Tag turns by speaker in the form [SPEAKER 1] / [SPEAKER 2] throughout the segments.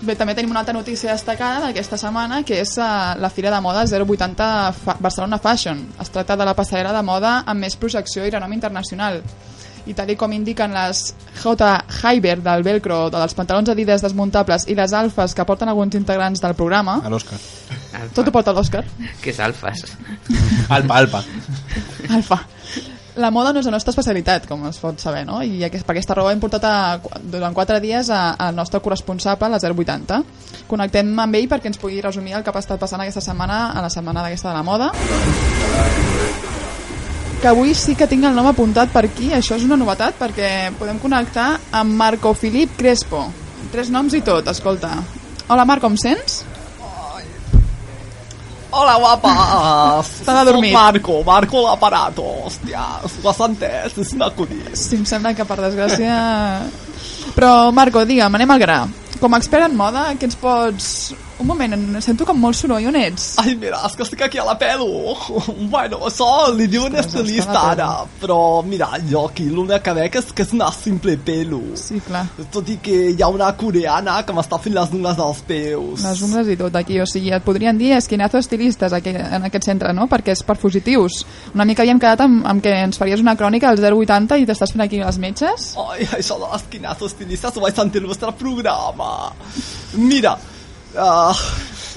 [SPEAKER 1] Bé, també tenim una altra notícia destacada d'aquesta setmana, que és eh, la Fira de Moda 080 Fa Barcelona Fashion. Es tracta de la passarel·la de moda amb més projecció i renom internacional. I tal i com indiquen les J. Hyber del velcro, dels pantalons adides desmuntables i les alfes que porten alguns integrants del programa,
[SPEAKER 2] A l'Òscar.
[SPEAKER 1] tot ho porta l'Òscar.
[SPEAKER 3] Que és alfas.
[SPEAKER 2] Alpa, alpa.
[SPEAKER 1] Alfa. La moda no és la nostra especialitat, com es pot saber, no? I aquest, per aquesta raó hem portat a, durant quatre dies a- al nostre corresponsable, la 080. Connectem amb ell perquè ens pugui resumir el que ha estat passant aquesta setmana a la setmana d'aquesta de la moda. Que avui sí que tinc el nom apuntat per aquí, això és una novetat, perquè podem connectar amb Marco Filip Crespo. Tres noms i tot, escolta. Hola Marc, com sents?
[SPEAKER 4] Hola, guapa.
[SPEAKER 1] Estava dormit.
[SPEAKER 4] Marco, Marco l'aparato. Hòstia, ho has entès? És una acudit.
[SPEAKER 1] Sí, em sembla que per desgràcia... Però, Marco, digue'm, anem al gra. Com a expert en moda, què ens pots... Un moment, em sento com molt soroll, on ets?
[SPEAKER 4] Ai, mira, és que estic aquí a la pelo. Um Bueno, això li diu un
[SPEAKER 1] Ostres,
[SPEAKER 4] estilista
[SPEAKER 1] està a la
[SPEAKER 4] ara. Però, mira, jo aquí l'únic que veig és que és una simple pelo.
[SPEAKER 1] Sí, clar,
[SPEAKER 4] Tot i que hi ha una coreana que m'està fent les ungles dels peus.
[SPEAKER 1] les ungles i tot aquí, o sigui, et podrien dir esquinazo estilistes aquí, en aquest centre, no? Perquè és per fugitius. Una mica havíem quedat amb, amb que ens faries una crònica al 080 i t'estàs fent aquí les metges?
[SPEAKER 4] Ai, això de l'esquinazo estilista ho vaig sentir al vostre programa. Mira, uh,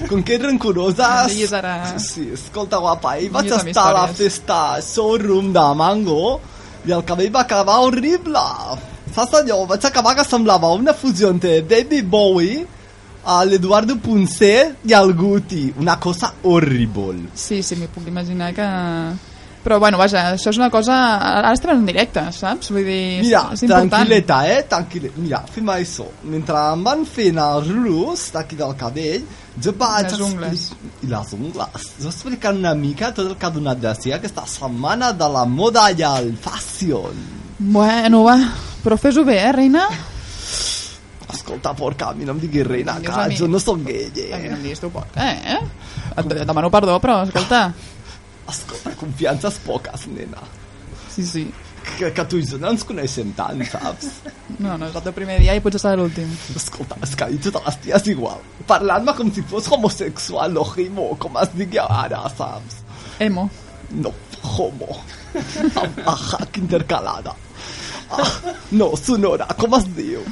[SPEAKER 4] com que ets rancorosa...
[SPEAKER 1] No diguis ara.
[SPEAKER 4] Sí, escolta, guapa, ahir vaig
[SPEAKER 1] Diguis amb
[SPEAKER 4] estar a la
[SPEAKER 1] històries.
[SPEAKER 4] festa showroom de Mango i el cabell va acabar horrible. Saps allò? Vaig acabar que semblava una fusió entre David Bowie, a l'Eduardo Puncer i el Guti. Una cosa horrible.
[SPEAKER 1] Sí, sí, m'hi puc imaginar que... Però, bueno, vaja, això és una cosa... Ara estem en directe, saps? Vull dir, és-
[SPEAKER 4] Mira,
[SPEAKER 1] és important.
[SPEAKER 4] tranquil·leta, eh? Tranquil·leta. Mira, fem això. Mentre em van fent els rullos d'aquí del cabell, jo vaig...
[SPEAKER 1] Les
[SPEAKER 4] expli-
[SPEAKER 1] ungles.
[SPEAKER 4] I les ungles. Jo explicant una mica tot el que ha donat de si aquesta setmana de la moda i el fashion.
[SPEAKER 1] Bueno, va, però fes-ho bé, eh, reina?
[SPEAKER 4] Escolta, porca, a mi no em diguis reina,
[SPEAKER 1] Dius a
[SPEAKER 4] que
[SPEAKER 1] mi.
[SPEAKER 4] jo no sóc gay,
[SPEAKER 1] Eh,
[SPEAKER 4] eh?
[SPEAKER 1] listo, porc, eh? Et et demano perdó, però, escolta...
[SPEAKER 4] Escolta, confiances poques, nena.
[SPEAKER 1] Sí, sí.
[SPEAKER 4] Que, que tu i jo no ens coneixem tant, saps?
[SPEAKER 1] No, no, és el teu primer dia i potser serà l'últim.
[SPEAKER 4] Escolta, és que ahir totes les ties igual. Parlant-me com si fos homosexual o himo, com es digui ara, saps?
[SPEAKER 1] Emo.
[SPEAKER 4] No, homo. Amb la hack intercalada. Ah, no, sonora, com es diu?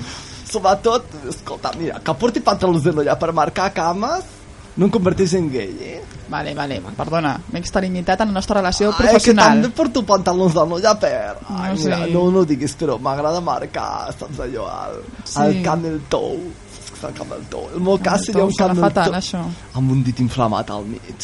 [SPEAKER 4] Sobretot, escolta, mira, que porti pantalons de l'olla per marcar cames no em converteix en gay, eh?
[SPEAKER 1] Vale, vale, perdona. M'he extralimitat en la nostra relació
[SPEAKER 4] Ai, Ah, que
[SPEAKER 1] professional.
[SPEAKER 4] també porto pantalons de l'olla per... Ai,
[SPEAKER 1] No
[SPEAKER 4] no,
[SPEAKER 1] sé.
[SPEAKER 4] mira, no, no ho diguis, però m'agrada marcar, saps allò, el,
[SPEAKER 1] Sí.
[SPEAKER 4] el camel toe. Saps El camel toe. El meu
[SPEAKER 1] Camel
[SPEAKER 4] cas seria
[SPEAKER 1] toe,
[SPEAKER 4] un
[SPEAKER 1] serà
[SPEAKER 4] camel
[SPEAKER 1] fatal,
[SPEAKER 4] toe.
[SPEAKER 1] això.
[SPEAKER 4] Amb un dit inflamat al mig.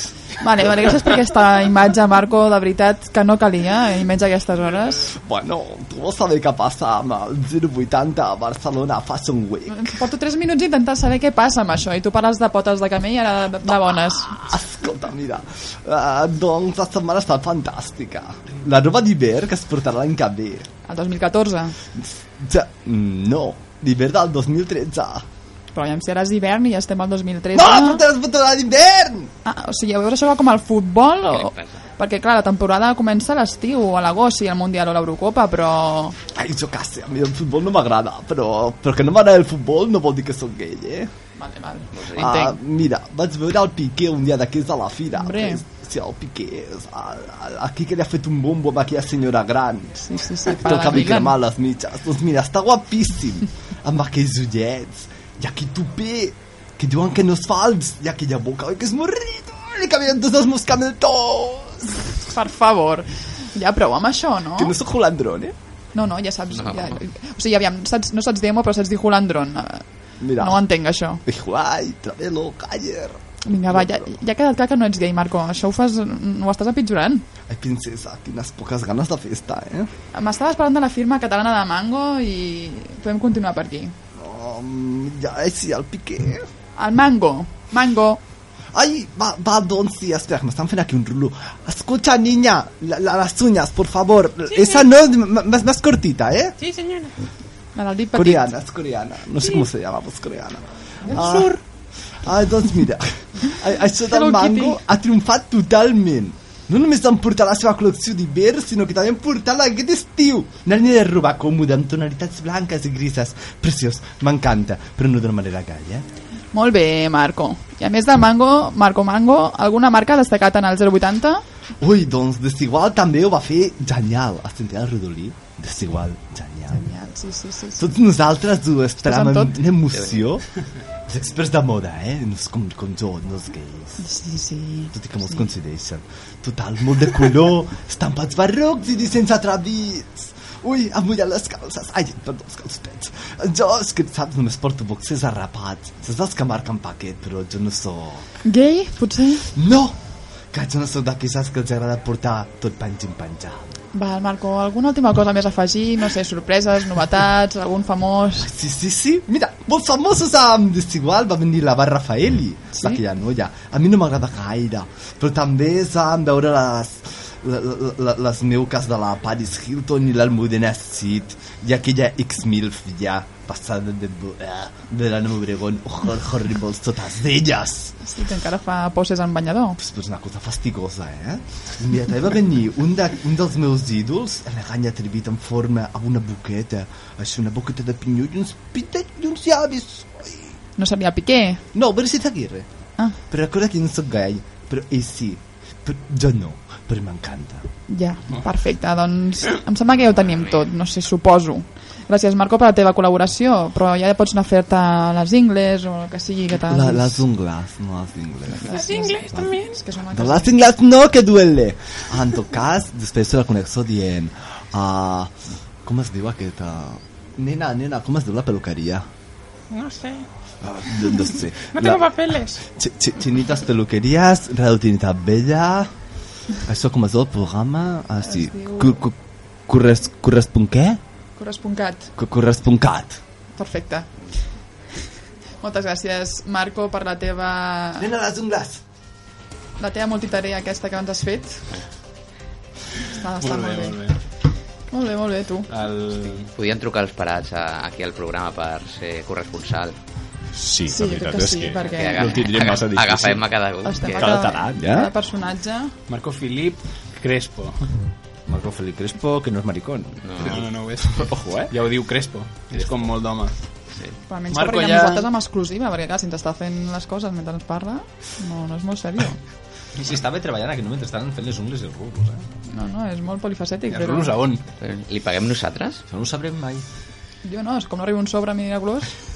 [SPEAKER 1] Vale, vale, gràcies per aquesta imatge, Marco, de veritat, que no calia, eh, i menys a aquestes hores.
[SPEAKER 4] Bueno, tu vols saber què passa amb el 080 a Barcelona Fashion Week?
[SPEAKER 1] Porto 3 minuts intentant saber què passa amb això, i tu parles de potes de camell i ara de, de bones.
[SPEAKER 4] Escolta, mira, uh, doncs la setmana està fantàstica. La roba d'hivern que es portarà l'any que ve.
[SPEAKER 1] El 2014.
[SPEAKER 4] Ja, mm, no, d'hivern del 2013.
[SPEAKER 1] Però ja em si ara és hivern i ja estem al 2013.
[SPEAKER 4] No, la portarà, es portarà d'hivern!
[SPEAKER 1] Ah, o sigui, llavors això va com el futbol?
[SPEAKER 3] Què li
[SPEAKER 1] O...
[SPEAKER 3] passa?
[SPEAKER 1] Perquè, clar, la temporada comença a l'estiu, o a l'agost, i el Mundial o l'Eurocopa, però...
[SPEAKER 4] Ai, jo que sé, a mi el futbol no m'agrada, però, però que no m'agrada el futbol no vol dir que sóc gay, eh?
[SPEAKER 1] Vale, vale.
[SPEAKER 3] sé.
[SPEAKER 4] Ah,
[SPEAKER 1] Entenc.
[SPEAKER 4] mira, vaig veure el Piqué un dia d'aquells a la fira.
[SPEAKER 1] Hombre.
[SPEAKER 4] Que és- Sí, el Piqué, és el, el, aquí que li ha fet un bombo amb aquella senyora gran.
[SPEAKER 1] Sí, sí, sí,
[SPEAKER 4] Té el cabell
[SPEAKER 1] Milan.
[SPEAKER 4] cremat a les mitges. Doncs mira, està guapíssim, amb aquells ullets, i aquí tupé, que diuen que no és fals, i aquella boca, oi, que és morrito, i que venen tots els meus cameltons.
[SPEAKER 1] Per favor. Ja prou amb això, no?
[SPEAKER 4] Que no sóc holandrón, eh?
[SPEAKER 1] No, no, ja saps.
[SPEAKER 3] No.
[SPEAKER 1] Ja, o sigui, aviam, saps, no saps demo, però saps dir holandron. Eh,
[SPEAKER 4] Mira.
[SPEAKER 1] No ho entenc, això.
[SPEAKER 4] Dijo, ai, Travelo, Caller.
[SPEAKER 1] Vinga, va, ja, ja ha quedat clar que no ets gay, Marco. Això ho fas... Ho estàs empitjorant.
[SPEAKER 4] Ai, princesa, quines poques ganes de festa, eh?
[SPEAKER 1] M'estaves parlant de la firma catalana de Mango i podem continuar per aquí.
[SPEAKER 4] Um, ja, ai, sí, el Piqué.
[SPEAKER 1] El Mango. Mango.
[SPEAKER 4] Ay, va, va, don, sí, espera, que me están haciendo aquí un rulo. Escucha, niña, la- la- las uñas, por favor. Esa no, es m- más, más cortita, ¿eh?
[SPEAKER 5] Sí, señora.
[SPEAKER 1] La del dit petit.
[SPEAKER 4] Coreana, es coreana. No sé cómo se llama, pues coreana. Ah, ah, doncs mira, a- això del
[SPEAKER 1] Hello
[SPEAKER 4] mango
[SPEAKER 1] Kitty.
[SPEAKER 4] ha triomfat totalment. No només van portar la seva col·lecció d'hivern, sinó que també han portat aquest estiu. Una línia de roba còmoda amb tonalitats blanques i grises. Preciós, m'encanta, però no d'una manera gaire.
[SPEAKER 1] Molt bé, Marco. I a més del Mango, Marco Mango, alguna marca ha destacat en el 080?
[SPEAKER 4] Ui, doncs Desigual també ho va fer genial. Has sentit el Rodolí? Desigual, genial.
[SPEAKER 1] Genial, sí, sí, sí. sí.
[SPEAKER 4] Tots nosaltres ho esperam
[SPEAKER 1] Estàs en
[SPEAKER 4] amb
[SPEAKER 1] tot?
[SPEAKER 4] una emoció. Els experts de moda, eh? No és com, com jo, no els gais.
[SPEAKER 1] Sí, sí.
[SPEAKER 4] Tot i que molts coincideixen. Total, molt de color, estampats barrocs i dissenys atrevits. Ui, ha mullat les calces. Ai, perdó, els calçotets. Jo, és que, saps, només porto boxers arrapats. Saps dels que marquen paquet, però jo no sóc...
[SPEAKER 1] Gay, potser?
[SPEAKER 4] No! Que jo no sóc d'aquelles que els agrada portar tot penjant penjant.
[SPEAKER 1] Val, Marco, alguna última cosa més a afegir? No sé, sorpreses, novetats, algun famós...
[SPEAKER 4] Sí, sí, sí. Mira, molt famosos amb Desigual va venir la Barra Faeli,
[SPEAKER 1] Sí.
[SPEAKER 4] sí? aquella noia. A mi no m'agrada gaire, però també és amb veure les, la- la- la- les meuques de la Paris Hilton i l'Almudena Cid i aquella X-Milf ja passada de, de, de l'Anna Obregón. Horror, horribles, totes elles.
[SPEAKER 1] Sí, que encara fa poses en banyador.
[SPEAKER 4] Pues, pues una cosa fastigosa, eh? Mira, també va venir un, de, un dels meus ídols, elegant i atrevit en forma, amb una boqueta, així una boqueta de pinyó i uns pitets i uns llavis. Ai.
[SPEAKER 1] No seria Piqué?
[SPEAKER 4] No, Bercita Aguirre.
[SPEAKER 1] Ah,
[SPEAKER 4] Però recorda que no sóc gai, però ell sí. Però jo no, però m'encanta.
[SPEAKER 1] ja, perfecte. Doncs em sembla que ja ho tenim tot, no sé, suposo. Gràcies, Marco, per la teva col·laboració, però ja pots anar a fer-te les ingles o el que sigui que t'has...
[SPEAKER 4] La, les ungles, no les ingles.
[SPEAKER 1] Les ingles, també. És que són
[SPEAKER 4] No les ingles no, que duele. Ah, En tot cas, després se la conexo dient... Uh, com es diu aquesta... Nena, nena, com es diu la peluqueria?
[SPEAKER 2] No sé.
[SPEAKER 4] Ah, no, no sé.
[SPEAKER 2] No tengo
[SPEAKER 4] La-
[SPEAKER 2] papeles.
[SPEAKER 4] Chi- chi- Chinitas Peluqueries, Radio Trinitat Vella... Això com es diu el programa? Ah, sí.
[SPEAKER 1] Es diu-
[SPEAKER 4] Cu- cu- Corres, correspon què?
[SPEAKER 1] Corresponcat.
[SPEAKER 4] Cu- Corresponcat.
[SPEAKER 1] Perfecte. Moltes gràcies, Marco, per la teva,
[SPEAKER 4] Nena, les ungles.
[SPEAKER 1] la teva multitarea aquesta que ens has fet. Està, està molt, bé, molt bé. Molt bé, molt bé, tu.
[SPEAKER 3] El...
[SPEAKER 5] Podien trucar els parats a, aquí al programa per ser corresponsal.
[SPEAKER 3] Sí, la
[SPEAKER 1] Sí, crec
[SPEAKER 3] veritat
[SPEAKER 1] que
[SPEAKER 3] és
[SPEAKER 1] sí,
[SPEAKER 3] que...
[SPEAKER 1] perquè-
[SPEAKER 5] Que
[SPEAKER 1] Eh,
[SPEAKER 3] Ho tindrem massa difícil.
[SPEAKER 5] Agafem a cada un.
[SPEAKER 1] Estem
[SPEAKER 5] que-
[SPEAKER 1] a
[SPEAKER 4] Cada
[SPEAKER 1] cada,
[SPEAKER 4] talat, ja.
[SPEAKER 1] cada personatge.
[SPEAKER 6] Marco Filip Crespo.
[SPEAKER 4] Marco Felipe Crespo, que no és maricón.
[SPEAKER 6] No, no, no ho és.
[SPEAKER 4] Ojo, eh?
[SPEAKER 6] Ja ho diu Crespo. És com molt d'home.
[SPEAKER 1] Però almenys
[SPEAKER 6] Marco,
[SPEAKER 1] Marco, ja...
[SPEAKER 6] ja-
[SPEAKER 1] nosaltres amb exclusiva, perquè clar, si ens està fent les coses mentre ens parla, no, no és molt seriós.
[SPEAKER 6] I si estava treballant aquí mentre estaven fent les ungles els rulos, eh?
[SPEAKER 1] No, no, és molt polifacètic.
[SPEAKER 6] Els rulos a on?
[SPEAKER 5] Li paguem nosaltres?
[SPEAKER 6] Això no ho sabrem mai.
[SPEAKER 1] Jo no, és com no arriba un sobre miraculós.